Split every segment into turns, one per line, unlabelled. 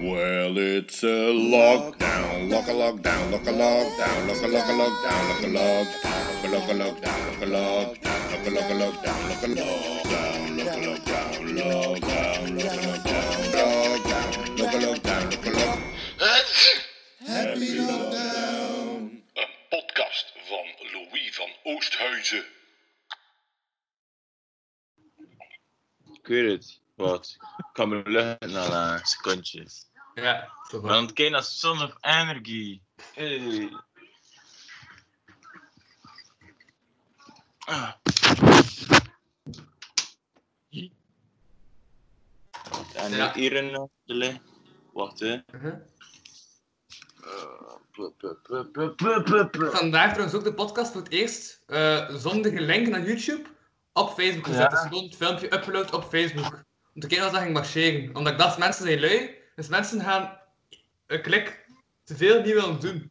Well, it's a lockdown, lock a lockdown, lock a lockdown, lock a lock a lockdown, lock a lockdown, lock a lockdown, lock a lockdown, lock a lockdown, lock a lockdown, lock a lockdown, lockdown, lock a lockdown, lockdown, lock a lockdown, lock a lock. Happy lockdown.
Een podcast van Louis van Oosthuizen.
Ik weet het. Wat? Ik kan me luchten na een secondje.
Ja, toch wel.
Want kijk naar Son of Energy. Hey. Ah. En
Ja.
hier een eh, de lijn. Wacht hè.
Mhm.
Eh, pu- pu- pu- pu- pu- pu- pu.
Vandaag trouwens ook de podcast voor het eerst eh, zonder link naar YouTube op Facebook gezet.
Ja.
Dus gewoon het filmpje upload op Facebook. Om te kijken als dat ging marcheren. Omdat ik dacht, mensen zijn lui. Dus mensen gaan een klik te veel niet willen doen.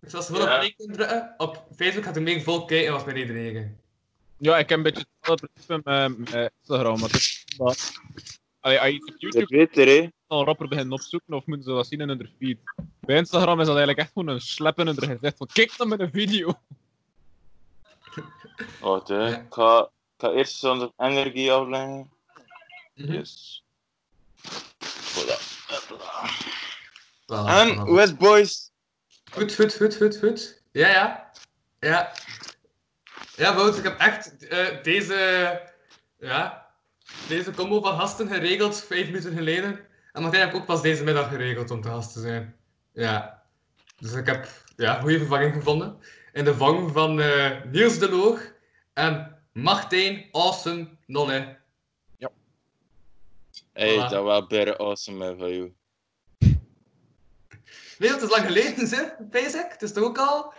Dus als ze gewoon
Ja.
op link kunnen drukken, op Facebook gaat er meer volk kijken was mijn reden.
Ja, ik heb een beetje hetzelfde probleem met- met Instagram. Maar het is omdat... Allee, als je iets op
Dat
YouTube
weet er, hè.
al rapper begint opzoeken, of moeten ze dat zien in hun feed. Bij Instagram is dat eigenlijk echt gewoon een slep in hun gezicht. Van, kijk dan met een video.
Wacht hè. Ik ga, ik ga eerst Son of Energy afleggen. Yes. Voilà. En West Boys.
Goed, goed, goed, goed, goed. Ja, ja. Ja. Ja, Wout, ik heb echt eh, deze... Ja. Deze combo van gasten geregeld, vijf minuten geleden. En Martijn heb ik ook pas deze middag geregeld om te gast te zijn. Ja. Dus ik heb ja, goede vervanging gevonden. In de vang van eh, Niels de Loog en Martijn Awesome Nolle.
Hey,
Voilà.
dat was better awesome hè, van jou.
Nee, dat is lang geleden, zeg, Pijsek. Het is toch ook al...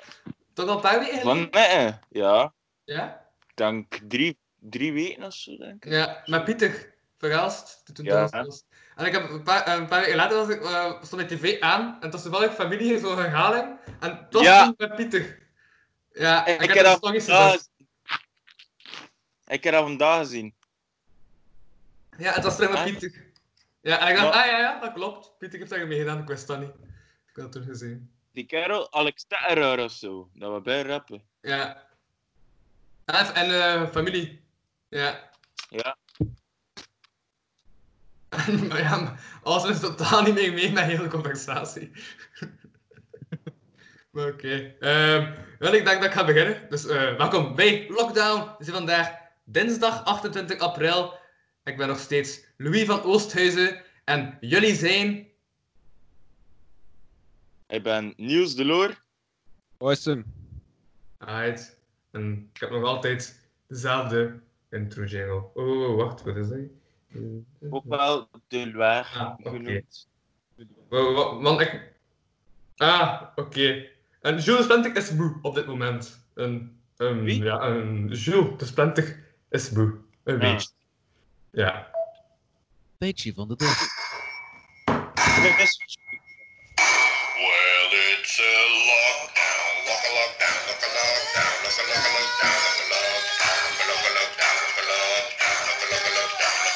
Toch al een paar weken
Van
geleden?
nee, ja.
Ja.
Ik denk drie, drie weken of zo, denk ik.
Ja, maar Pieter, verrast. Toen
Ja.
dat was. En ik heb een paar, een paar weken later was ik, eh, stond ik tv aan en het was toevallig familie zo'n herhaling. En het was
Ja.
toen met Pieter. Ja,
Ik
en ik
heb
heb
dat
dat nog eens
vandaag
gezegd.
Ik heb dat vandaag gezien.
Ja, het was terug met
Ah.
Pieter. Ja, en ik dacht,
Maar-
ah ja, ja, dat klopt. Pieter heeft daar meegedaan, ik wist dat niet. Ik had het toen gezien.
Die kerel, Alex Terror of zo. Dat we bij rappen.
Ja. Ah, En eh, familie. Ja.
Ja.
En, maar ja, maar alles is totaal niet meer mee met heel de conversatie. maar oké. Ehm, wel, ik denk dat ik ga beginnen. Dus eh, welkom bij Lockdown. Het is vandaag dinsdag 28 april. Ik ben nog steeds Louis van Oosthuizen. En jullie zijn...
Ik ben Niels de Loor.
Awesome.
Alright. En ik heb nog altijd dezelfde intro jingle. Oh, oh, oh, wacht, wat is dat?
Ook wel de Loer
Ah, oké.
genoemd.
Wa- wa- Want ik... Ah, oké. En Jules de Splentig is moe op dit moment. Een, een,
Wie? Ah.
Ja, een Jules de Splentig is moe. Een
Ja.
beetje. Ja.
Peetje van de dag.
Dus-
Well, eh. it's a lockdown, lock a lockdown, lock a lockdown, lock a lock a lockdown, lock a lockdown, lock a lock a lockdown, lock a lockdown, lock a lock a lockdown,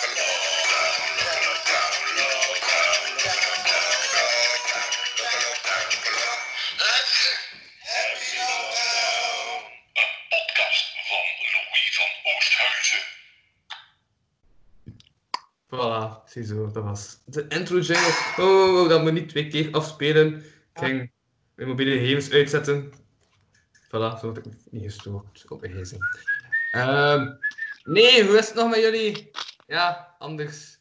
lock a lockdown, lock a lockdown, lockdown, lock a lockdown, lockdown, lock a lockdown, lock a lockdown. Happy lockdown. Een podcast van Louis van Oosthuizen.
Voilà, ziezo, dat was de intro jingle. Oh, oh, oh, dat moet niet twee keer afspelen. Ik ging mijn mobiele gegevens uitzetten. Voilà, zo word ik niet gestoord op een gsm. Ehm, nee, hoe is het nog met jullie? Ja, anders.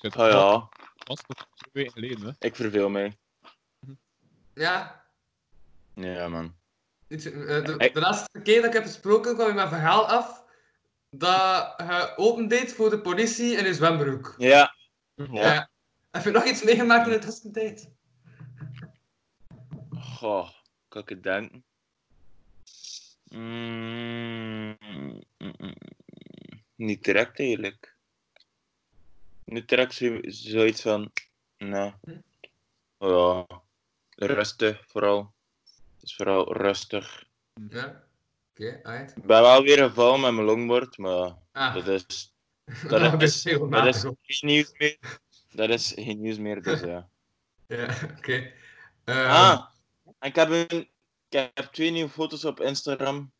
Het
Ah ja,
was tot twee weken geleden, hè.
ik verveel mij.
Ja,
Ja, man.
Iets, eh, de,
Ik-
de laatste keer dat ik heb gesproken kwam je mijn verhaal af dat je opendeed voor de politie in je zwembroek.
Ja.
Ja.
Ja.
Heb je nog iets meegemaakt in de tussentijd?
Goh, kan ik het denken? Mm, mm, mm, mm. niet direct eigenlijk. Niet direct zo- zoiets van, nee. Oh ja, rustig vooral. Het is vooral rustig.
Ja. Oké, uit.
Ik ben wel weer gevallen met mijn longboard, maar
Ah,
dat is,
dat
dat is,
is
dat
regelmatig.
is geen nieuws meer. Dat is geen nieuws meer, dus ja.
Ja, oké. Ehm,
Ah, en ik heb, een, ik heb twee nieuwe foto's op Instagram.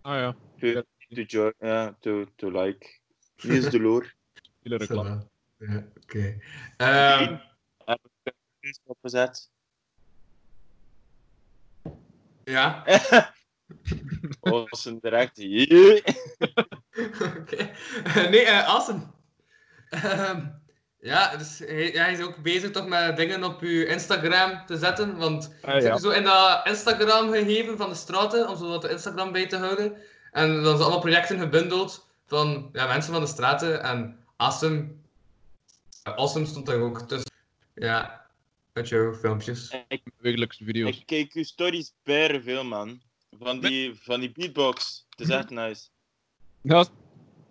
Ah ja,
To, to, join, ja, eh, to, to like. Die is de loer.
hele
zo
reclame.
wel. Ja, oké. Ehm,
Die is opgezet.
Ja,
Oh, was een direct. Jee.
oké. Nee, eh Assen. Ehm, ja, dus hij, ja, hij is ook bezig toch met dingen op uw Instagram te zetten, want
Ah
Zitten
ja.
zo in dat Instagram gegeven van de straten, om zo wat de Instagram bij te houden. En dan zijn alle projecten gebundeld van ja, mensen van de straten. En Assem, eh, Assem stond daar ook tussen. Ja, met jouw filmpjes.
Ik,
Wekelijkse video's.
ik kijk uw stories bij veel, man. Van die, van die beatbox. Het is echt nice.
Dat is-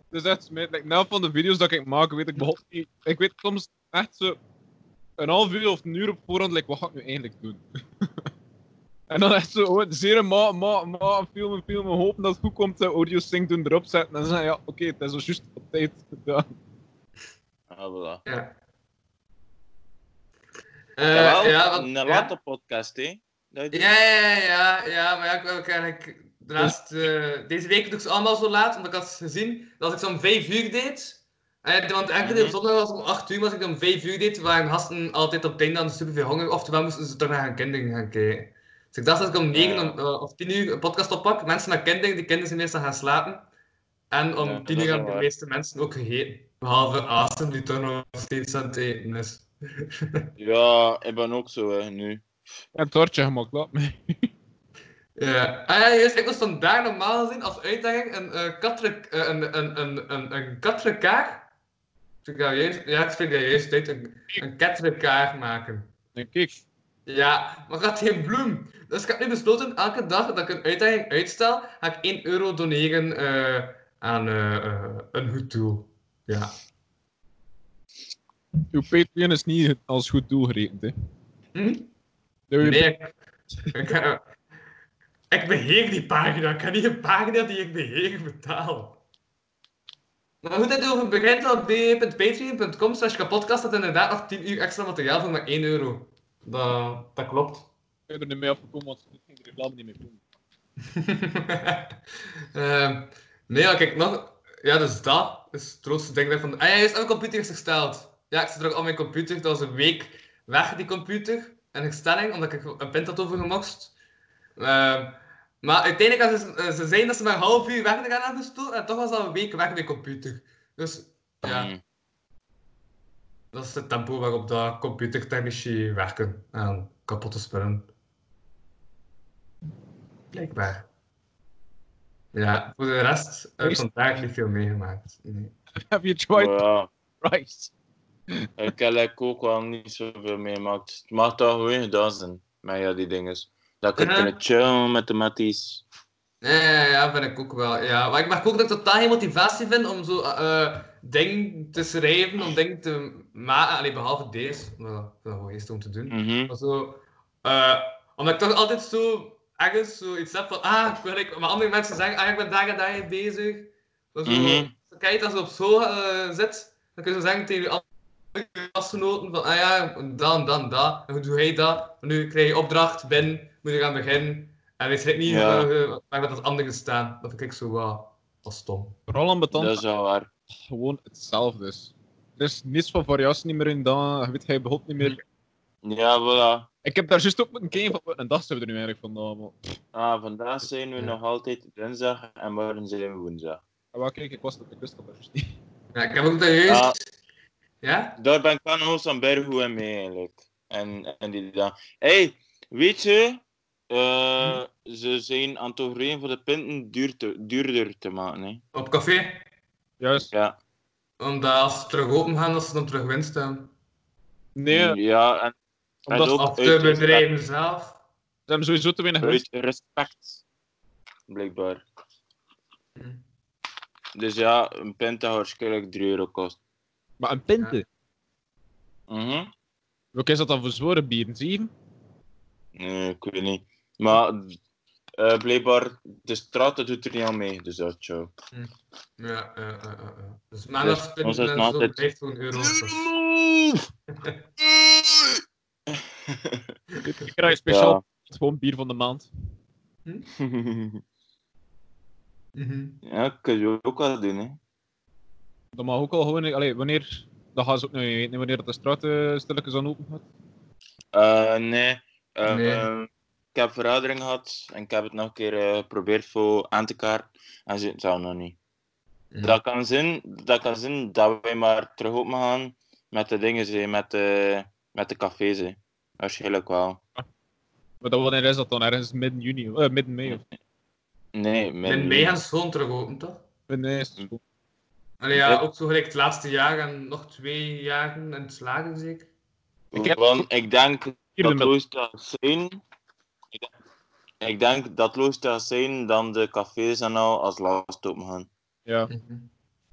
dat is echt smijt. Like, na van de video's dat ik maak, weet ik behalve niet. Ik weet soms echt zo een half uur of een uur op voorhand, like, wat ga ik nu eigenlijk doen? en dan echt zo, gewoon zeer ma, ma, ma, filmen, filmen, hopen dat het goed komt, de audio sync doen, erop zetten en zeggen, ja, oké, het is al juist op tijd gedaan.
Ah, voilà.
Ja.
Jawel,
Eh, ja, wat-
een
ja.
late podcast, hè? Dat je doet.
Ja, ja, ja, ja, ja, maar ja, ik wil ook eigenlijk. De laatste, eh, deze week doe ik ze allemaal zo laat, omdat ik had gezien dat als ik ze om 5 uur deed. eh, want enkele
Mhm.
keer op zondag was om 8 uur, maar als ik dan om 5 uur deed, waren gasten altijd op tijd aan super veel honger. Oftewel moesten ze toch naar hun kinderen gaan kijken. Dus ik dacht dat ik om 9 om, eh, of 10 uur een podcast oppak. Mensen met kinderen, die kinderen zijn meestal gaan slapen. En om
Ja,
10
dat
uur
is
hebben
wel
de
waar.
meeste mensen ook gegeten. Behalve Aasten, die toch nog steeds aan het eten is.
Ja, ik ben ook zo hè, nu.
Ik heb het hartje gemaakt, laat me.
Ja, ah, ja juist, ik was vandaag normaal gezien als uitdaging een eh katrek- eh, een, een, een, een, een katrekaar. Ik dat juist, ja, ik vind dat juist dit, een, een katrekaar maken.
En kijk,
Ja, maar ik had geen bloem. Dus ik heb nu besloten, elke dag dat ik een uitdaging uitstel, ga ik 1 euro doneren eh, aan eh, eh, een goed doel. Ja.
uw Patreon is niet als goed doel gerekend, hè.
Hm?
Doe je-
Nee, ik, ik, eh, ik beheer die pagina. Ik heb niet een pagina die ik beheer betaal. Maar goed, dit over begint op www.patreon.com slash kapodcast dat inderdaad nog 10 uur extra materiaal voor maar 1 euro. Dat, dat klopt.
Ik ben er niet mee afgekomen, want ik ging de reclame niet meer doen.
Ehm, nee, ja, kijk, nog... Ja, dus dat is het grootste ding dat ik van... Ah ja, juist, en mijn computer is hersteld. Ja, ik zit er ook aan mijn computer. Dat was een week weg, die computer. Een herstelling, omdat ik een pint had overgemokst. Ehm, maar uiteindelijk, als ze, ze zeiden dat ze maar een half uur weg gaan aan de stoel, en toch was dat een week weg, mijn computer. Dus, ja,
Mm.
dat is het tempo waarop dat computertechnici werken aan kapotte spullen. Blijkbaar. Ja, voor de rest heb ik vandaag niet veel meegemaakt. Nee.
Have you tried
Ja,
Christ?
ik heb like, ook wel niet zoveel meegemaakt. Het mag toch gewoon gedaan zijn met ja, die dingen. Dat ik
Ja.
het kunnen chillen met de matties.
Ja, ja, ja, vind ik ook wel. Ja. Maar ik merk ook dat ik totaal geen motivatie vind om zo eh dingen te schrijven, om dingen te maken. Allee, behalve deze, maar dat is wel eerst om te doen.
Mhm.
Maar zo, eh, omdat ik toch altijd zo ergens zoiets heb van, ah, ik wil ik, maar andere mensen zeggen, ah, ik ben daar en daar mee bezig. Dan zo,
Mhm.
dan kan je het als je op zo eh, zit, dan kun je zo zeggen tegen je andere klasgenoten van, ah ja, dan, dan, dat. En hoe doe jij dat? Nu krijg je opdracht, ben, moet je gaan beginnen. En weet ik niet
Ja.
waar, eh, waar dat anderen staan. Dat vind ik zo wel als stom.
Vooral aan
Dat is wel waar.
gewoon hetzelfde is. Er is niets van variatie niet meer in dan, je weet hij behoopt niet meer.
Ja, voilà.
Ik heb daar juist ook moeten kijken van wat een dag zijn we er nu eigenlijk vandaan. Maar...
Ah, vandaag zijn we
Ja.
nog altijd dinsdag en morgen zijn we woensdag.
Ah, wel, kijk, ik was dat, ik wist dat juist niet.
Ja, ik heb ook dat juist...
Ah.
Ja?
Daar ben ik van Hoos aan Berghoe en mee eigenlijk. En, en die dan. hey, weet je, eh, ze zijn aan het overeen voor de pinten duur te- duurder te maken. Hè.
Op café.
Juist.
Ja.
Omdat als ze terug open gaan, dat ze dan terug winst hebben.
Nee,
ja, en
omdat
ook-
ze
Of de
uit-
bedrijven zelf.
ze hebben sowieso te weinig
uit
winst.
respect. Blijkbaar.
Hm.
Dus ja, een pint gaat waarschijnlijk 3 euro kost.
Maar een pinte.
Ja.
Mhm.
Welke is dat dan voor zware bieren? Zeven?
Nee, ik weet niet. Maar eh, blijkbaar, de straat dat doet er niet aan mee, dus dat is zo.
Ja, ja, ja, ja, ja. Dus maandag
Dus
spinnen
onze
en zo
maaltijd-
blijft gewoon euro.
Ik krijg speciaal gewoon bier van de maand.
Ja.
Mhm.
ja, kun je ook wel doen, hè.
Dat mag ook al gewoon... Allee, wanneer... Dat gaan ze ook nog niet weten, wanneer dat de straat eh, stilletjes aan open gaat.
Eh, nee. Eh,
Nee.
ehm, ik heb verradering gehad en ik heb het nog een keer eh, geprobeerd voor aan te kaarten. En ze zou nog niet.
Mm.
Dat, kan zijn, dat kan zijn dat wij maar terug open gaan met de dingen, hè, met, de, met de cafés. hè. Waarschijnlijk wel.
Maar dat, wanneer is dat dan? Ergens midden juni, eh, midden mei of...
Nee, mijn-
En mij gaan ze gewoon terug open, toch?
Midden mei is
Mm.
het gewoon.
Allee, ja,
Ja.
ook zo gelijk het laatste jaar en nog twee jaren en het slagen zeker.
Ik heb-
Want ik denk
Hier de
dat
mil-
Loosdal zijn. Ik denk- Ik denk dat Loosdal zijn dan de cafés en al als laatste open gaan.
Ja. Maar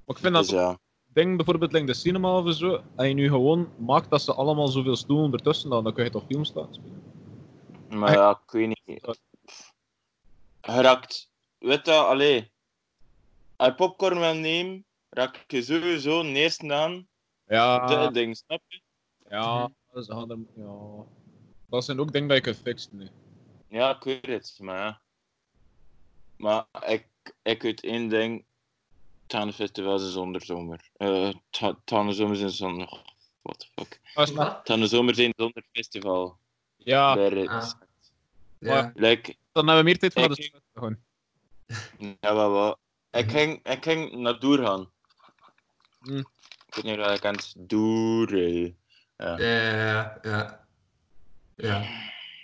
ik vind dat
Dus ja.
ding bijvoorbeeld, like de cinema of zo, en je nu gewoon maakt dat ze allemaal zoveel stoelen ertussen dan, dan kun je toch films laten spelen.
Maar ja, ik weet niet. Gerakt. Weet je, allee. Als je popcorn wil nemen, raak je sowieso neerst aan
Ja,
dat ding, snap je?
ja, ze gaan er, ja. Dat zijn ook dingen dat je kunt fixen. hè.
Ja, ik weet het, maar ja. Maar ik, ik weet één ding. Tanenfestivals is zonder zomer. Eh, ta- Tanenzomers is zonder... What the fuck.
Dat is net-
Tanenzomers is zonder festival.
Ja,
Bij Ritz.
Ah.
Maar-
Ja.
Like,
dan hebben we meer tijd voor naar de
Ik-
straat te gaan.
Ja, wel, wel. Ik ging, ik ging naar Doer gaan.
Hm.
Ik weet niet of je dat kent. Doer. eh.
Ja, ja, ja. Ja.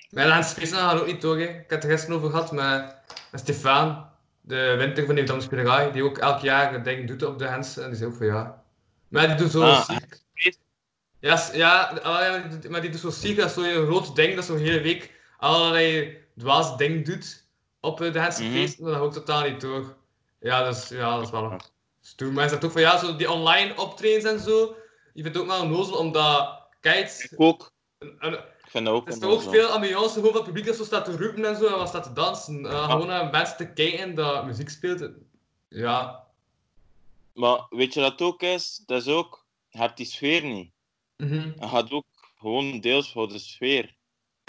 Mijn laatste spelen gaat ook niet door, hè. Ik heb het er gisteren over gehad met, met Stefan, de winter van Nieuw-Dam Spelerij, die ook elk jaar een ding doet op de Hens. En die zei ook van ja. Maar die doet zo
Ah,
ziek.
weet-
Ja, s- ja, allerlei- maar die doet- maar die doet zo ziek, dat is zo'n groot ding, dat zo'n hele week allerlei dwaas ding doet op eh, de Hense
Mhm.
feesten. Dat hou ik totaal niet door. Ja, dat is, ja, dat is wel stoer. Maar hij zegt ook van ja, zo die online optredens en zo, je vindt ook wel een nozel, omdat, kijk,
Ik ook.
en
Ik vind dat ook
het is
een
toch ook
zo.
veel ambiance, gewoon van het publiek dat zo staat te roepen en zo, en wat staat te dansen. Eh, Gewoon naar mensen te kijken dat muziek speelt. Ja.
Maar weet je wat het ook is? Dat is ook... Je hebt die sfeer niet.
Mhm.
Je gaat ook gewoon deels voor de sfeer.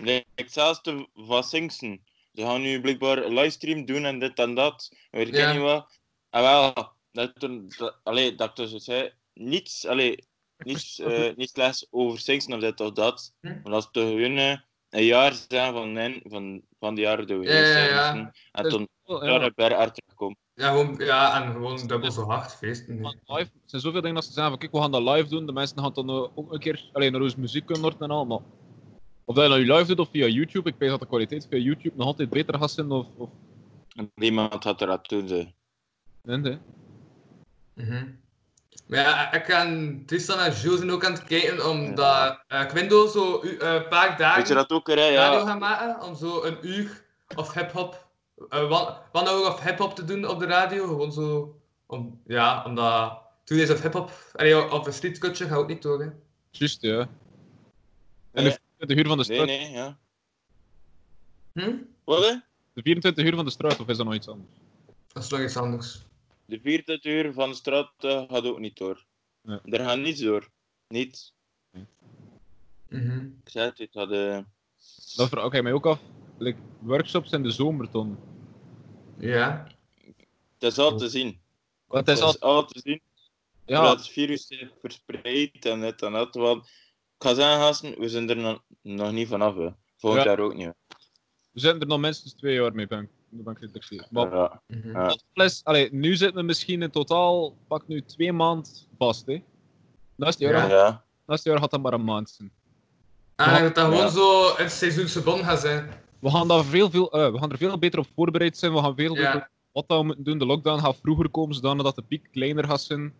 Like, zelfs de van Singsen. Ze gaan nu blijkbaar een livestream doen en dit en dat. En weet ik
Ja.
niet wat. En wel, dat, toen- dat, allee, dat ik dus het zei, niets, allee, niets, eh niets slechts over Singsen of dit of dat.
Hm.
Maar dat is te hun eh, een jaar zijn van, mijn, van, van de jaren dat we
Ja,
hier
ja, ja.
Singsen. En
Dus-
toen
Oh,
daar
Ja,
heb ik eruit gekomen.
Ja, gewoon, ja, en gewoon dubbel zo hard feesten.
want
nee.
live, er zijn zoveel dingen dat ze zeggen van kijk, we gaan dat live doen. De mensen gaan dan eh, ook een keer alleen naar onze muziek kunnen horen en al. Maar of dat je nou live doet of via YouTube, ik weet dat de kwaliteit via YouTube nog altijd beter gaat zijn of, of
En niemand had eruit toen. ze.
Nee, nee.
Mhm. Maar ja, ik en Tristan en Jules zijn ook aan het kijken, omdat eh Quindo zo u- eh, een paar dagen...
Weet je dat ook, hè?
radio
Ja.
gaan maken om zo een uur of hip-hop, eh, wa- one hour of hip-hop te doen op de radio. Gewoon zo, om, ja, omdat Two Days of Hip-hop, allee, of een street culture gaat ook niet door. Hè.
Juist, ja. En
Nee.
de 24 uur van de
Nee,
straat.
nee, ja.
Hm?
Wat, hè?
De 24 uur van de straat, of is dat nog iets anders?
Dat is nog iets anders.
De vierde uur van de straat eh, gaat ook niet door.
Ja.
Er gaat niets door. Niets.
Mhm.
Ik zei het, het had, eh,
Dat vraag ik mij ook af. Like, workshops in de zomer, Ton.
Ja.
het is al te zien.
Want
Het
het is al...
is al te zien
Ja,
dat het virus zich verspreidt en dit en dat. Want ik ga zeggen, gasten, we zijn er no- nog niet vanaf. Hè. Volgend
Ja.
jaar ook niet.
we zitten er nog minstens twee jaar mee, ben ik, daar ben ik redelijk zeker. Maar
Ja.
Mhm.
Ja.
dat plus, allee, nu zitten we misschien in totaal, pak nu twee maanden vast, hè. Naast jaar,
Ja.
had-
Ja.
naast jaar had dat maar een maand zijn.
En dat het dan gewoon
Ja.
zo een seizoense bon gaat zijn.
We gaan, daar veel, veel, eh, we gaan er veel beter op voorbereid zijn, we gaan veel
Ja.
beter wat dat we moeten doen. De lockdown gaat vroeger komen, zodat de piek kleiner gaat zijn.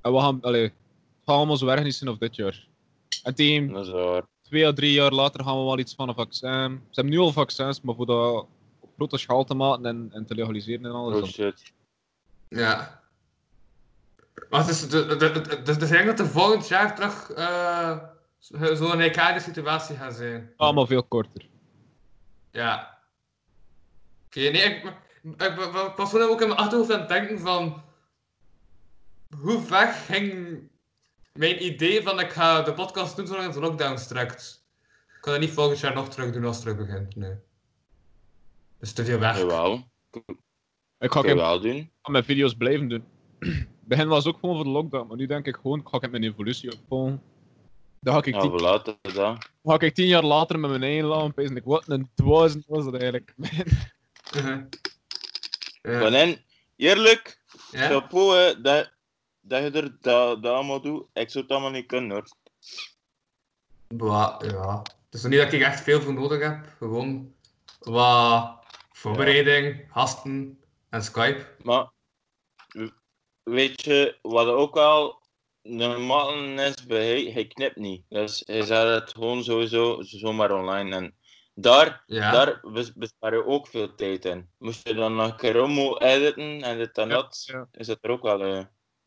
En we gaan, allee, het gaat allemaal zo erg niet zijn of dit jaar. En tegen
Dat is waar.
twee à drie jaar later gaan we wel iets van een vaccin. Ze hebben nu al vaccins, maar voor dat op grote schaal te maken en, en te legaliseren en alles.
Oh
dan-
shit.
Ja. Maar het is, de, de, de, de, de, ik denk dat er volgend jaar terug eh, zo- zo'n gelijkaardige situatie gaat zijn.
Allemaal veel korter.
Ja. nee, ik, ik, ik- ik was gewoon ook in mijn achterhoofd aan het denken van... Hoe weg ging mijn idee van ik ga de podcast doen zolang de lockdown strekt? Ik kan dat niet volgend jaar nog terug doen als het terug begint, nee. Dat is te veel weg.
Jawel.
Ik ga
Kun je
ook
wel doen.
aan mijn video's blijven doen. begin was ook gewoon voor de lockdown, maar nu denk ik gewoon, ga ik mijn evolutie opvolgen. Dan ga ik,
Ja,
tien,
voilà, dat is dat.
ga ik tien jaar later met mijn eigen lamp en ik, wat een duizend was dat eigenlijk.
Mhm.
Maar
Ja.
en, eerlijk,
Ja?
chapeau hè, dat, dat je er dat, dat allemaal doet. Ik zou het allemaal niet kunnen hoor.
Bah, ja. Het is nog niet dat ik echt veel voor nodig heb. Gewoon wat voorbereiding, gasten en Skype.
Maar w- weet je wat ook wel normaal is bij hij, hij knipt niet. Dus hij zet het gewoon sowieso zomaar online. En daar,
Ja.
daar bes- bespaar je ook veel tijd in. Moest je dan nog een keer romo editen en dit en
Ja,
dat,
ja.
is het er ook wel. eh,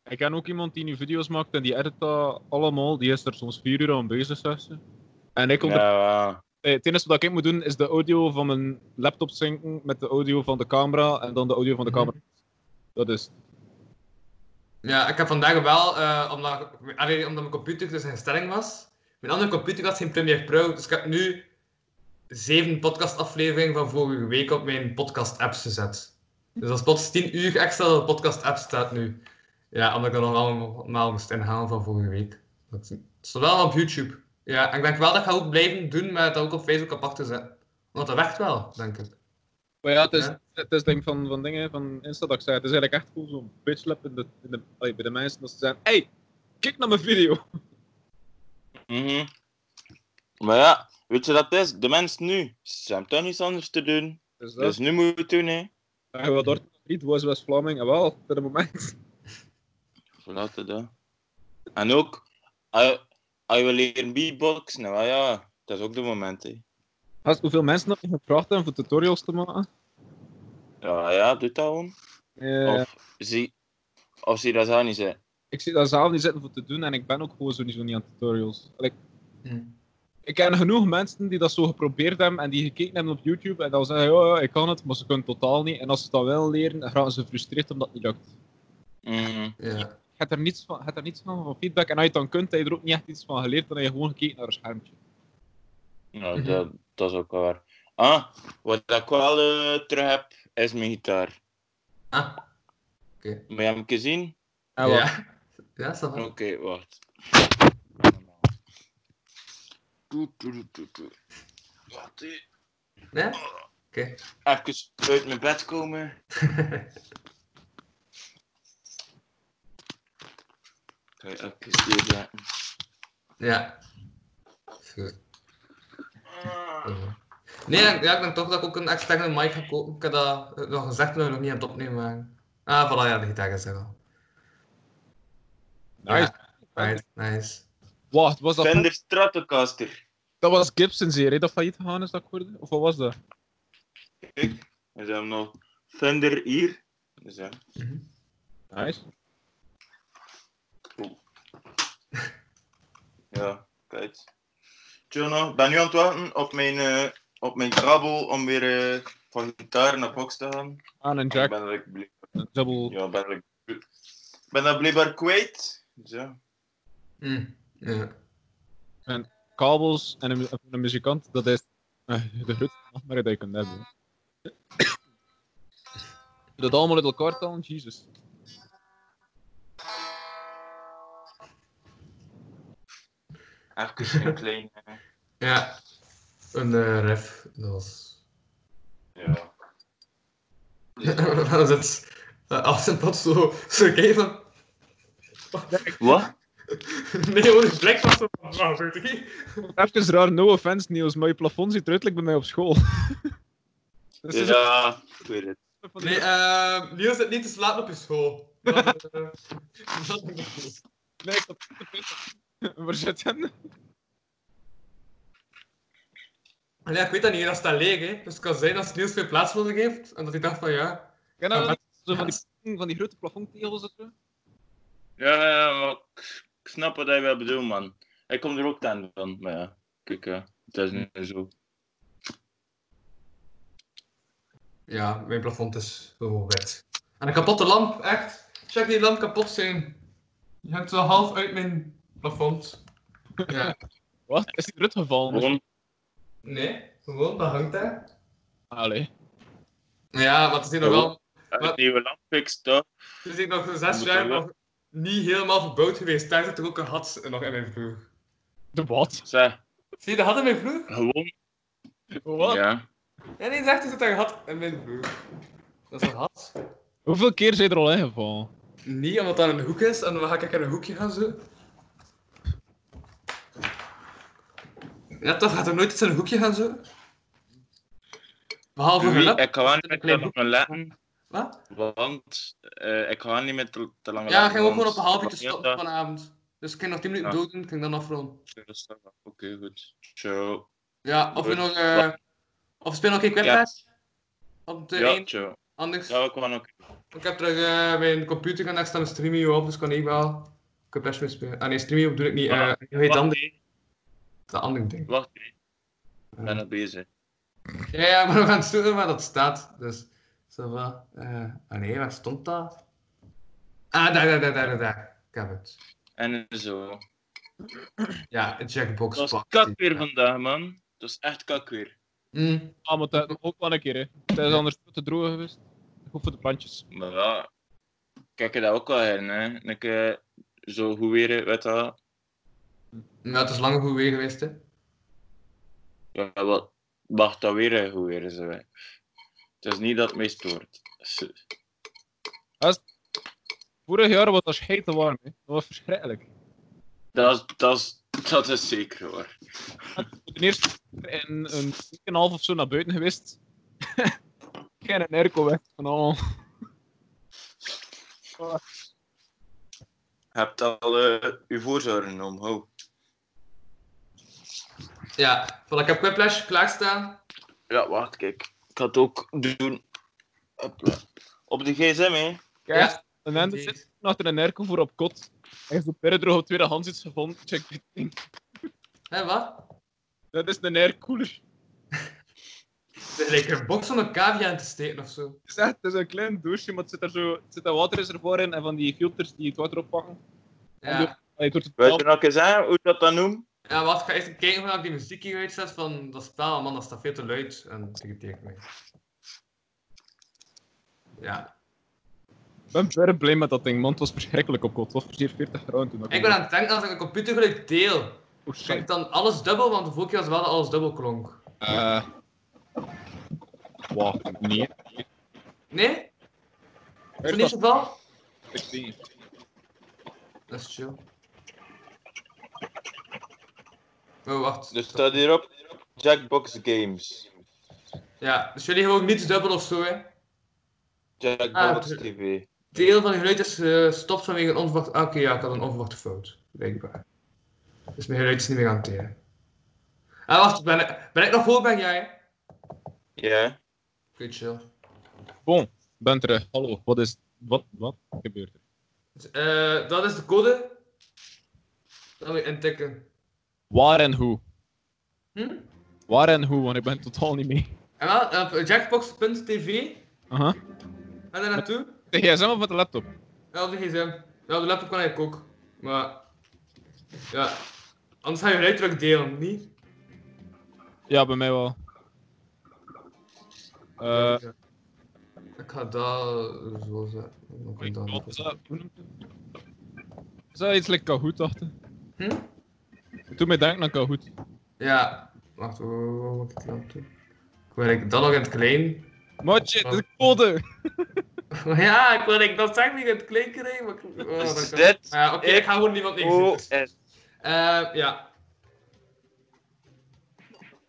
Ik ken ook iemand die nu video's maakt en die edit dat allemaal. Die is er soms vier uur aan bezig, zegt ze. En ik onder...
ja, ja.
eh, het enige wat ik moet doen is de audio van mijn laptop zinken met de audio van de camera en dan de audio van de
Mhm.
camera. Dat is.
Ja, ik heb vandaag wel, eh, omdat, allee, omdat mijn computer dus een instelling was. Mijn andere computer had geen Premiere Pro, dus ik heb nu zeven podcastafleveringen van vorige week op mijn podcast-apps gezet. Dus dat is plots tien uur extra dat de podcast-app staat nu. Ja, omdat ik dat nog allemaal moest inhalen van vorige week. Dat het staat wel op YouTube. Ja, en ik denk wel dat ik dat ook blijven doen, maar dat ook op Facebook apart te zetten. Want dat werkt wel, denk ik.
Maar ja, het is,
Ja.
het is denk ik van, van dingen van Insta dat ik zei. Het is eigenlijk echt cool zo'n bitchlap in de, in de, allee, bij de mensen dat ze zeggen: Hey, kijk naar mijn video.
Mhm. Maar ja, weet je wat het is? De mens nu, ze hebben toch niets anders te doen.
Dus dat
Dus
is.
nu moet je het doen, hè.
Ja, wat Dortmund niet was West-Vlaming. En ah, wel, op dit moment.
Laten dat. En ook, als als je wil leren beatboxen, nou ah ja, dat is ook de moment, hè.
Gast, hoeveel mensen dat je gevraagd hebben voor tutorials te maken?
Ja, ja, doe dat gewoon.
Oh.
Eh,
Of zie, of zie dat zou niet zijn.
Ik zit daar zelf niet zitten voor te doen en ik ben ook gewoon sowieso niet aan tutorials. Allee, ik ken genoeg mensen die dat zo geprobeerd hebben en die gekeken hebben op YouTube en dan zeggen, ja, ja, ik kan het, maar ze kunnen het totaal niet. En als ze dat wel leren, dan raken ze gefrustreerd omdat het niet lukt.
Mhm.
Ja.
Je hebt er niets van, je hebt er niets van, van feedback en als je het dan kunt, heb je er ook niet echt iets van geleerd, dan heb je gewoon gekeken naar een schermpje.
Ja,
Mhm.
dat, dat is ook wel waar. Ah, wat ik wel eh, terug heb, is mijn gitaar.
Ah,
Moet je hem gezien?
En wat?
ja. Ja, is dat
Oké,
wel.
wacht. Doe, doe, doe, doe, doe. Wacht, hè.
Ja? Oké.
even uit mijn bed komen. Ga je even hier zetten.
Ja. Nee, ja, ja, ik denk toch dat ik ook een externe mic ga kopen. Ik heb dat eh, nog gezegd, maar nog niet aan het opnemen waren. Ah, voilà, ja, de gitaar is er al.
Nice.
Ja, right, nice.
Wacht, was dat,
Fender Stratocaster.
dat was Gibson's hier, hè, dat failliet gegaan is, dat ik hoorde? Of wat was dat?
En dan nog nou? Fender hier. Dus ja.
Nice.
Ja, kijk. Tjono, ik ben nu aan het wachten op mijn, eh, op mijn kabel om weer eh, van gitaar naar box te gaan.
Aan een
Ik
jack,
ben dat bl-
een dubbel.
ja, ik ben dat- ik ben dat blijkbaar kwijt. Dus ja.
Hm, ja.
kabels en een, en een muzikant, dat is eh, de grootste nachtmerrie dat je kunt hebben. Dat allemaal uit elkaar talen, Jesus.
Even een klein. eh,
ja. Een eh, ref, dat was...
ja.
dat is het Eh, als een pot zo, zo keer van...
Wat?
Nee, hoor, de blik was zo van... Wauw, weet ik niet.
Even raar, no offense Niels, maar je plafond ziet eruit like bij mij op school. Dus het is
Ja, ik weet het.
ook van die-
Nee, eh Niels zit niet te slapen op je school. Dat, eh, dat-
Nee, ik had het te veel. Waar zit hem?
Allee, ik weet dat niet, dat staat leeg, hè. Dus het kan zijn dat ze Niels veel plaats wilde geeft. En dat hij dacht van, ja...
Ken je dat wel? Zo van
Ja,
die, van die grote plafondtegels of zo?
Ja, ja, maar ik ik snap wat hij wel bedoelt, man. Hij komt er ook aan van, maar eh, ja, kijk, ja, het is nu zo.
Ja, mijn plafond is gewoon wit. En een kapotte lamp, echt. Check die lamp kapot zijn. Je hebt wel half uit mijn plafond. Ja.
Wat? Is die eruit gevallen?
Gewoon,
Nee, gewoon, dat hangt daar.
Allee.
Ja, wat is hier nog wel...
uit nieuwe lampfix, toch?
Het is hier nog zes
Moet
jaar
wel.
nog niet helemaal verbouwd geweest. Daar zit er ook een gat nog in mijn vloer.
De wat?
Zeg,
Zie je de gat in mijn vloer?
gewoon.
Wat?
Ja.
Ja, nee, zegt er zit een gat in mijn vloer. Dat is een gat.
Hoeveel keer zijn er al ingevallen?
Niet omdat dat een hoek is en dan ga ik in een hoekje gaan zo. Ja, toch gaat er nooit iets in een hoekje gaan zo. Behalve
Wie,
gelap.
ik kan niet met te
Klein
lange letten,
Wat?
want eh, ik kan niet met te, te lange
Ja,
letten,
ik ging ook gewoon
want-
op een half uurtje
Ja,
stoppen vanavond. Dus ik ging nog 10 minuten
Ja.
dood doen, ik ging dan afronden.
dat is toch- Oké, goed. Ciao.
Ja, of we
Goed.
nog. eh, of we spelen nog een kwartpaas? Op de
Ja,
één,
ciao.
anders.
Ja, ik kan ook.
Ik heb terug eh, mijn computer gaan staan Streamio op, dus kan ik wel. Ik heb best mee spelen. Ah nee, Streamio doe ik niet. eh
Ja.
hoe heet
Wacht
dan
even,
dat andere ding?
wacht even. Ik ben nog bezig.
Ja, ja, maar we gaan het zoeken waar dat staat. Dus, zo wat. eh ah nee, waar stond dat? Ah, daar, daar, daar, daar, daar, daar. Ik heb het.
En zo.
Ja, een Jackbox.
Dat was
Party.
kak weer vandaag, man. Dat is echt kak weer.
Mm.
Ah, maar dat ook wel een keer, hè. Het is anders te droog geweest. Goed voor de plantjes.
Maar ja, kijk je dat ook al in, hè? Een keer zo goed weer, weet je wel.
Nou, het is lang goed weer geweest, hè.
Ja, wat mag dat weer hè, goed weer zijn? hè. Het is niet dat het mij stoort. S-
Vorig jaar was dat scheet te warm, hè. Dat was verschrikkelijk.
Dat is, dat is, dat is zeker hoor.
Ten eerste in een week en een half of zo naar buiten geweest. Geen een airco weg van al.
Je hebt al eh uw voorzorgen genomen, ho.
Ja, voilà, ik heb Quiplash klaarstaan.
Ja, wacht, kijk. Ik ga het ook doen. Hopla. Op de gsm, hè?
Kijk,
Ja.
een ander
Oké.
zit achter een airco voor op kot. Hij heeft op Peredro op tweedehands iets gevonden. Check dit ding.
Hé, wat?
Dat is een aircooler.
Het lijkt een box om een cavia in te steken of zo.
Het is echt het is een klein douche, maar het zit daar zo... Het zit een waterreservoir in en van die filters die het water oppakken.
Ja,
Allee, het wordt het
Weet je nog eens aan hoe dat dan noemt?
ja wat? Ik ga eerst kijken hoe ik die muziek hier uitzet van dat spel. Man, dat staat veel te luid en dat irriteert mij. Ja.
Ik ben verre blij met dat ding, man. Het was verschrikkelijk op kot. Het was precies 40 graden toen. dat
Ik
kwam.
ben aan het denken als ik een computergeluid deel.
Oh,
Zeg
shit.
ik dan alles dubbel, want de vorige keer was wel dat alles dubbel klonk.
Eh. Wacht, nee.
Nee? Is dat niet het geval?
Ik zie het.
Dat is chill. Oh, wacht.
Dus staat hierop Jackbox Games.
Ja, dus jullie hebben ook niets dubbel of zo, hè?
Jackbox
Ah,
TV.
Deel van je geluid is gestopt vanwege een onverwachte... Ah, Oké, ja, ik had een onverwachte fout. Blijkbaar. Dus mijn geluid is niet meer aan het delen. Ah, wacht. Ben ik, ben ik nog voor, ben jij? Oké,
Ja.
chill.
Bon, ben terug. Hallo, wat is. Wat, wat gebeurt er?
Dus, eh, dat is de code. Dat moet je intikken.
Waar en hoe?
Hm?
Waar en hoe, want ik ben totaal niet mee.
En wel, eh, op jackbox.tv.
Aha.
Ga daar naartoe.
De gsm of met de laptop?
Ja, op de gsm. Ja, op de laptop kan ik ook. Maar... Ja. Anders ga je geluid terug delen, niet?
Ja, bij mij wel. Eh.
Ik ga dat zo zetten. Dan kan ik dat
wat eh, is dat? Hoe noemt het? Is dat iets like Kahoot achter?
Hm?
Ik doe mij denken aan Kahoot.
Ja. Wacht, wat moet ik dan doen? Ik wil ik dat nog in het klein.
Matje, de code!
ja, ik wil ik dat zeg niet in het klein krijgen. Maar ik... oh, dat
Is
kan-
dit
Ja, Oké, ik ga gewoon niemand niks doen. dus.
OS.
Eh, ja.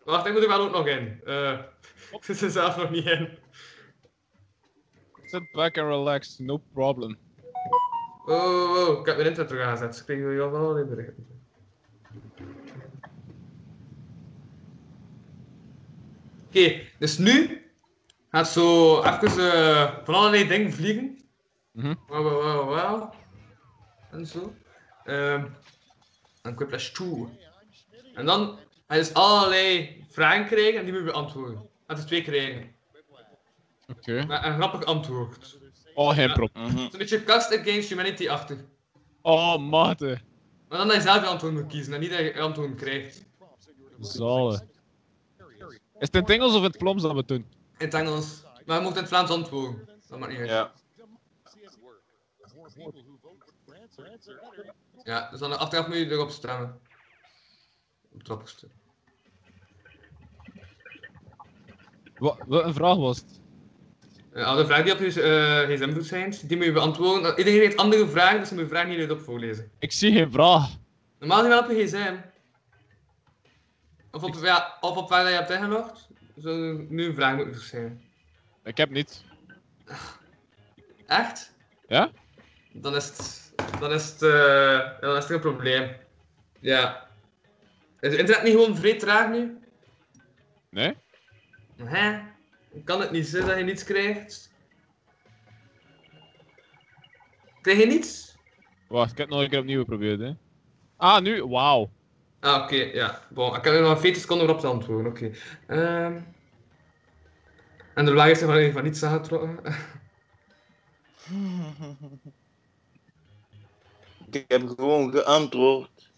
Wacht, ik moet er wel ook nog in. Eh, ik zit er zelf nog niet in.
Sit back and relax, no problem.
Oh, oh, oh, ik heb mijn internet terug aangezet. dus Ik kreeg jullie al wel die berichten. Oké, dus nu gaat zo even eh, van allerlei dingen vliegen.
Mhm.
Wauw, wauw, wauw, wauw. En zo. Ehm en Quiplash 2. En dan ga je dus allerlei vragen krijgen en die moet je beantwoorden. Laten we twee krijgen.
Oké.
Met een grappig antwoord. Het
Oh, geen probleem.
Mhm.
is een beetje Cards Against Humanity achter.
Oh, mate.
Maar dan dat je zelf je antwoord moet kiezen en niet dat je antwoord krijgt.
Zalen. Is het in het Engels of in het Ploms dat we doen?
In het Engels. Maar je moet in het Vlaams antwoorden. Dat maakt niet uit.
Ja.
Ja, dus dan achteraf moet je erop stemmen. Op het grappigste.
Wat, wat een vraag was het?
Eh, alle vragen die op je eh, gsm doet zijn, die moet je beantwoorden. Eh, Iedereen heeft andere vragen, dus je moet je vragen niet hierop voorlezen.
Ik zie geen vraag.
Normaal zijn wel op je gsm. Of op, ja, of op waar je hebt ingelogd. Zou nu een vraag moeten zijn.
Ik heb niet.
Echt?
Ja?
Dan is het... Dan is het, eh, dan is het een probleem. Ja. Is het internet niet gewoon vrij traag nu?
Nee?
Hè? Kan het niet zijn dat je niets krijgt? Krijg je niets?
Wacht, ik heb het nog een keer opnieuw geprobeerd, hè. Ah, nu? Wauw.
Ah, oké, ja. Bon, ik heb er nog 40 seconden op te antwoorden, oké. Ehm. En de laag heeft er van, van niets aangetrokken.
Ik heb gewoon geantwoord.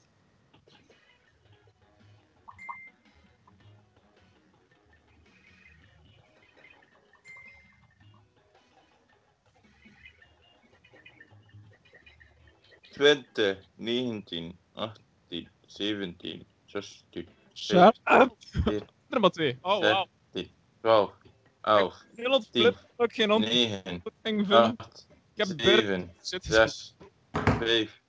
Twintig, 19, 18, 17, 16,
Shut up.
14,
Ehm, Er maar twee. Oh, wauw.
12, 11,
Nederland
Tien.
flip ook geen antwoord
9,
ging vullen.
8,
Ik heb Berk
7,
zit
6, 5,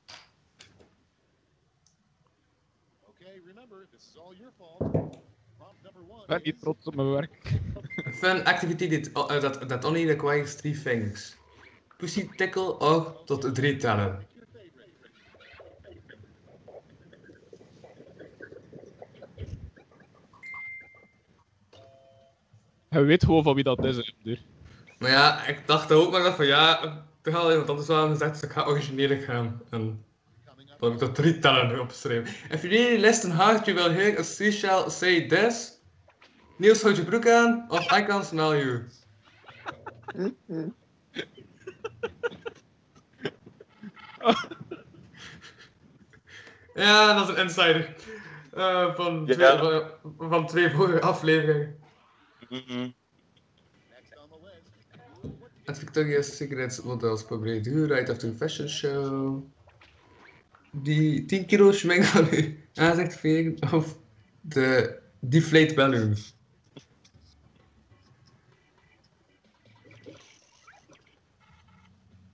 Ik ben niet trots op mijn werk.
Fun activity did, oh, eh, that, that only requires three things. Pussy tickle or tot drie tellen.
Hij weet gewoon van wie dat is, hè, duur.
Maar ja, ik dacht ook maar dat van ja, toch had iemand anders wel gezegd, dus ik ga origineel gaan. En dan heb ik er drie tellen opgeschreven. If you really listen hard, you will hear a seashell say this. Niels, houd je broek aan, of I can smell you. ja, dat is een insider. Eh, van,
Ja.
twee, van, van twee vorige afleveringen.
Mhm.
At Victoria's Secrets models probeert u right after fashion show. Die 10 kilo schmink van u aanzicht vegen of de deflate balloon.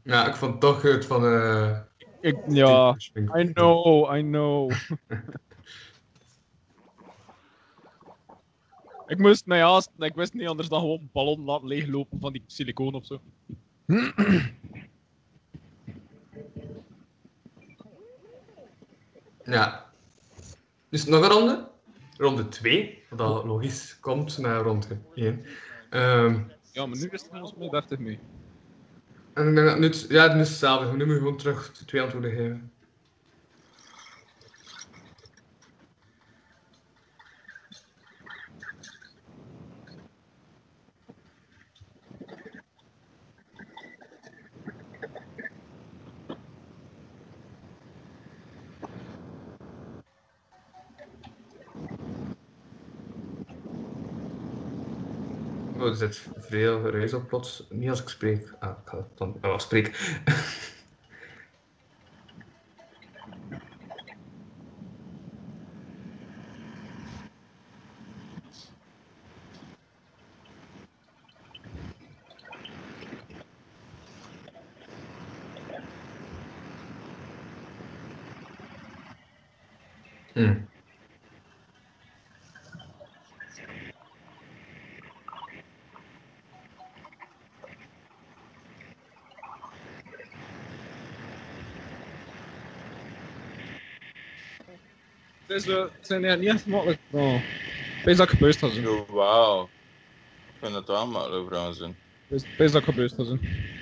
Ja, ik vond toch het van eh.
Ik, ja.
10 kilo schmink.
I know, I know. ik moest mij haasten, ik wist niet anders dan gewoon een ballon laten leeglopen van die silicoon of zo.
Ja. Dus nog een ronde. Ronde 2, wat al logisch komt naar ronde Ehm, 1.
Ja, maar nu is het volgens mij 30 mee.
En ik denk dat nu, het- ja, het is hetzelfde. Nu moet je gewoon terug de twee antwoorden geven. Oh, er zit veel ruis op plots. Niet als ik spreek. Ah, ik ga het dan wel als ik spreek. Hmm.
Het, is, eh, het zijn ja, niet echt makkelijk. Oh. Wees dat ik gebeurd had zijn.
Zo, Wauw. Ik vind het wel makkelijk, trouwens.
Wees, wees dat ik gebeurd had zijn.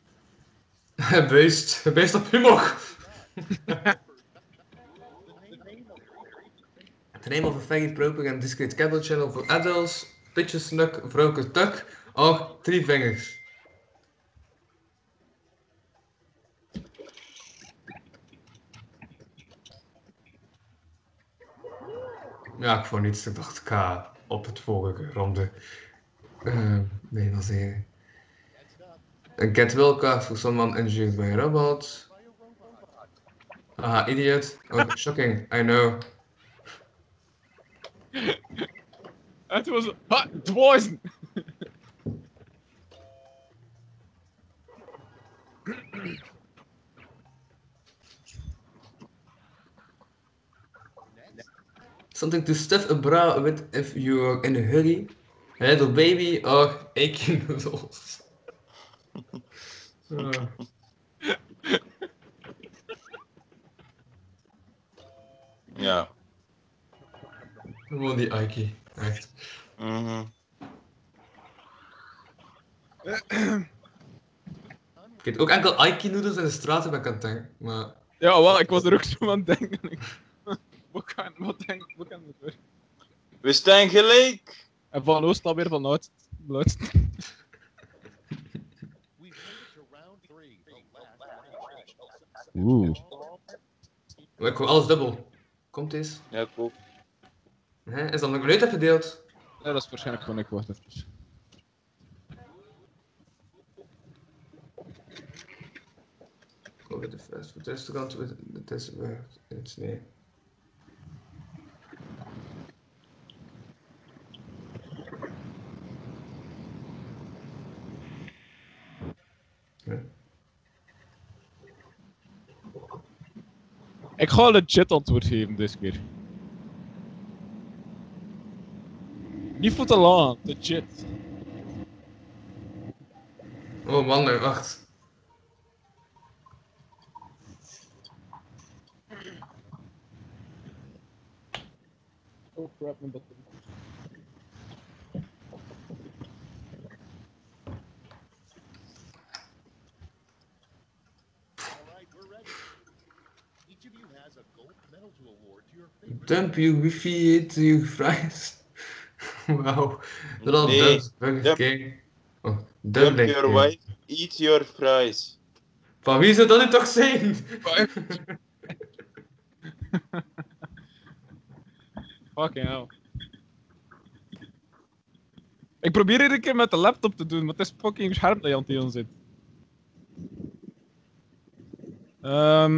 Beest, beest op humor. The name of a faggot propaganda discrete cable channel for adults. pitje snuk, vrouwke tuk. Och, drie vingers. Ja, ik vond niets. Ik dacht K op het vorige ronde. Eh, nee, dat is hier. Een get will card for someone injured by a robot. Aha, idiot. Oh, shocking, I know.
En toen was het. Ha, dwazen!
Something to stuff a bra with if you're in a hurry. A little baby or aching noodles. Uh.
Ja.
Gewoon die Aiki. Echt.
Mhm.
Ik weet ook enkel Aiki-noedels in de straten ben ik aan het denken. Maar
Ja, wel, ik was er ook zo aan het denken. Ik- Wat kan, wat denk, wat kan er gebeuren?
We staan gelijk!
En Van Oost alweer van Oost.
Oeh.
maar ik hoor alles dubbel. Komt eens.
Ja, ik ook.
Hè? Is dat nog nooit gedeeld?
Ja, dat is waarschijnlijk gewoon ik wacht even.
Over de fast food restaurant with the test worked its name. Ja.
Ik ga legit antwoord geven deze keer. Niet voor te lang, legit.
Oh man, nee, wacht.
Oh crap, mijn batterij.
Dump you wifi into your fries. Wauw. Dat al
Nee,
Dubs, Burger
dump-
King. Oh,
Dump
Dublin
your
King.
wife, eat your fries.
Van wie zou dat nu toch zijn?
Fucking hell. Ik probeer iedere keer met de laptop te doen, maar het is fucking scherp dat je aan het doen zit. Ehm.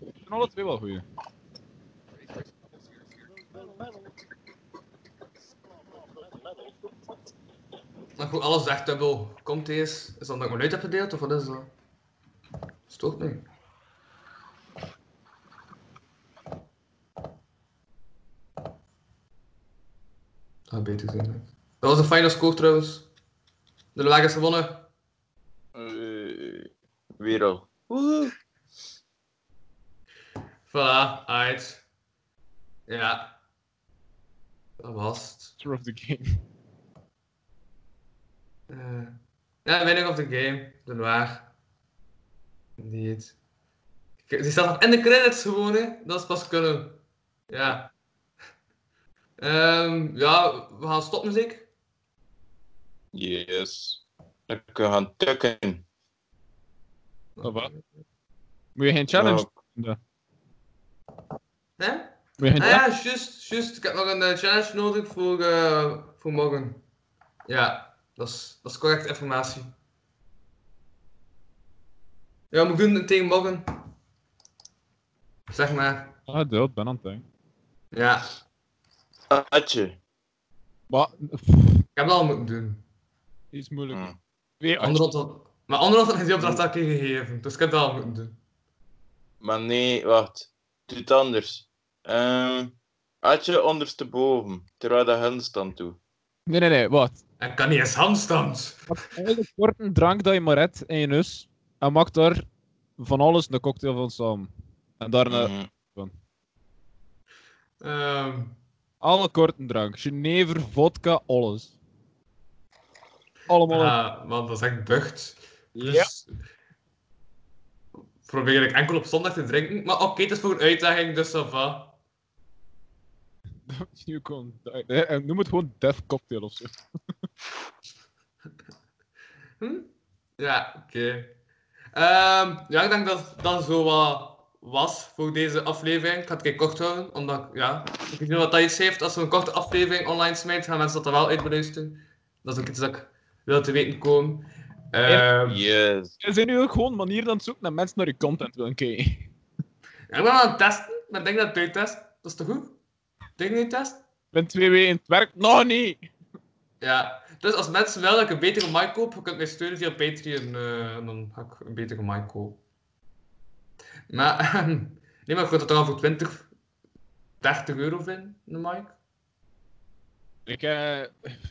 het zijn alle twee wel goeie.
Maar goed, alles echt dubbel. Komt eens. Is dat dat ik me uit heb gedeeld of wat is dat? Stoort me. Dat had Ah, beter zijn. Dat was de final score trouwens. De lag is gewonnen.
Eh, weer al.
Voilà, uit. Ja. Dat was het.
Master of the game.
Eh, ja, winning of the game. De waar. Niet. Kijk, Die staat nog in de credits gewoon, hè. Dat is pas kunnen. Ja. Ehm, ja, we gaan stoppen, zeker?
Yes. Dan kunnen we gaan tukken.
Oh, wat? Moet je geen challenge doen?
Hè?
Moet je geen
Ah
challenge
ja, juist, juist. Ik heb nog een eh, challenge nodig voor, eh, voor morgen. Ja, dat is, dat is correcte informatie. Ja, moet ik doen tegen morgen. Zeg maar.
Ah, dood, ben aan het denken.
Ja,
Ja. Atje.
Maar,
ik heb dat al moeten doen.
iets moeilijk.
Hm.
Twee
Andere had- maar Anderland had ik die opdracht al een keer gegeven, dus ik heb dat al moeten doen.
Maar nee, wacht. Doe het anders. Ehm Atje ondersteboven, terwijl de handstand doet.
Nee, nee, nee, wat?
En ik kan niet eens handstand.
Eigenlijk wordt een drank dat je maar hebt in je neus. En maakt daar van alles een cocktail van samen. En daarna
Mhm.
Ehm,
alle korte drank. Genever, vodka, alles. Allemaal.
ah, man, dat is echt bucht.
Ja.
Dus probeer ik enkel op zondag te drinken. Maar oké, het is voor een uitdaging, dus ça va.
You can die. Eh, eh, Noem het gewoon Death Cocktail of zo.
Hm? Ja, oké. Ehm, ja, ik denk dat dat zo wat was voor deze aflevering. Ik ga het een keer kort houden, omdat ik- ja, ik weet niet wat dat iets heeft. Als we een korte aflevering online smijt, gaan mensen dat er wel uit beluisteren. Dat is ook iets dat ik wil te weten komen. Ehm,
Yes.
Er zijn nu ook gewoon manieren aan het zoeken naar mensen naar je content willen kijken.
ja, Ik ben aan het testen, maar ik denk dat het uittest. Dat is toch goed? Denk niet test?
Ben twee weken in het werk? Nog niet!
Ja. Dus als mensen willen dat ik een betere mic koop, je kunt mij steunen via Patreon. eh, en dan ga ik een betere mic kopen. Maar, ehm, nee, maar ik wil dat dan voor 20, 30 euro vinden, de mic.
Ik, eh,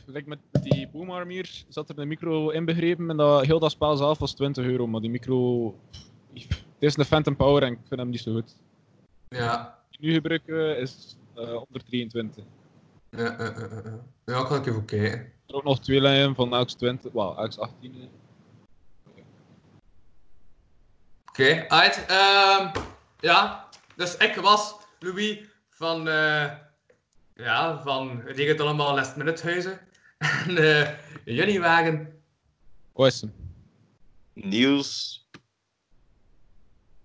like met die boomarm hier zat er een micro inbegrepen en dat, heel dat spel zelf was 20 euro, maar die micro... Het is een Phantom Power en ik vind hem niet zo goed.
Ja.
Die nu gebruiken is eh, onder 23.
Ja, eh, eh, eh, eh. ja, ik ga ik even kijken.
Er ook nog twee lijnen van AX20, wel, AX18. eh.
Oké, uit. ehm, ja, dus ik was Louis van, eh, ja, van Regent Allemaal Last Minute Huizen. En eh, jullie waren
Hoe is hem?
Niels.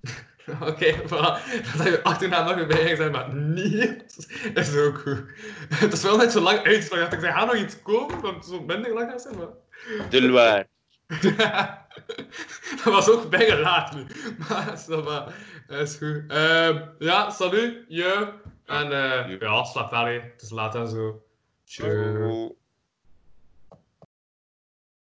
Oké, voilà. Dat je achternaam nog weer bij zijn, maar niet. Dat is ook goed. Het is wel net zo lang uitslag. Ik zei, ga nog iets komen, want het is zo minder lang gaan zijn, maar...
Delwaar.
dat was ook bijna laat nu. Maar, is dat maar. Dat is goed. Ehm, ja, salut, je. En eh, ja, slaap wel, hè. Het is laat en zo. Tjoo.
Ciao.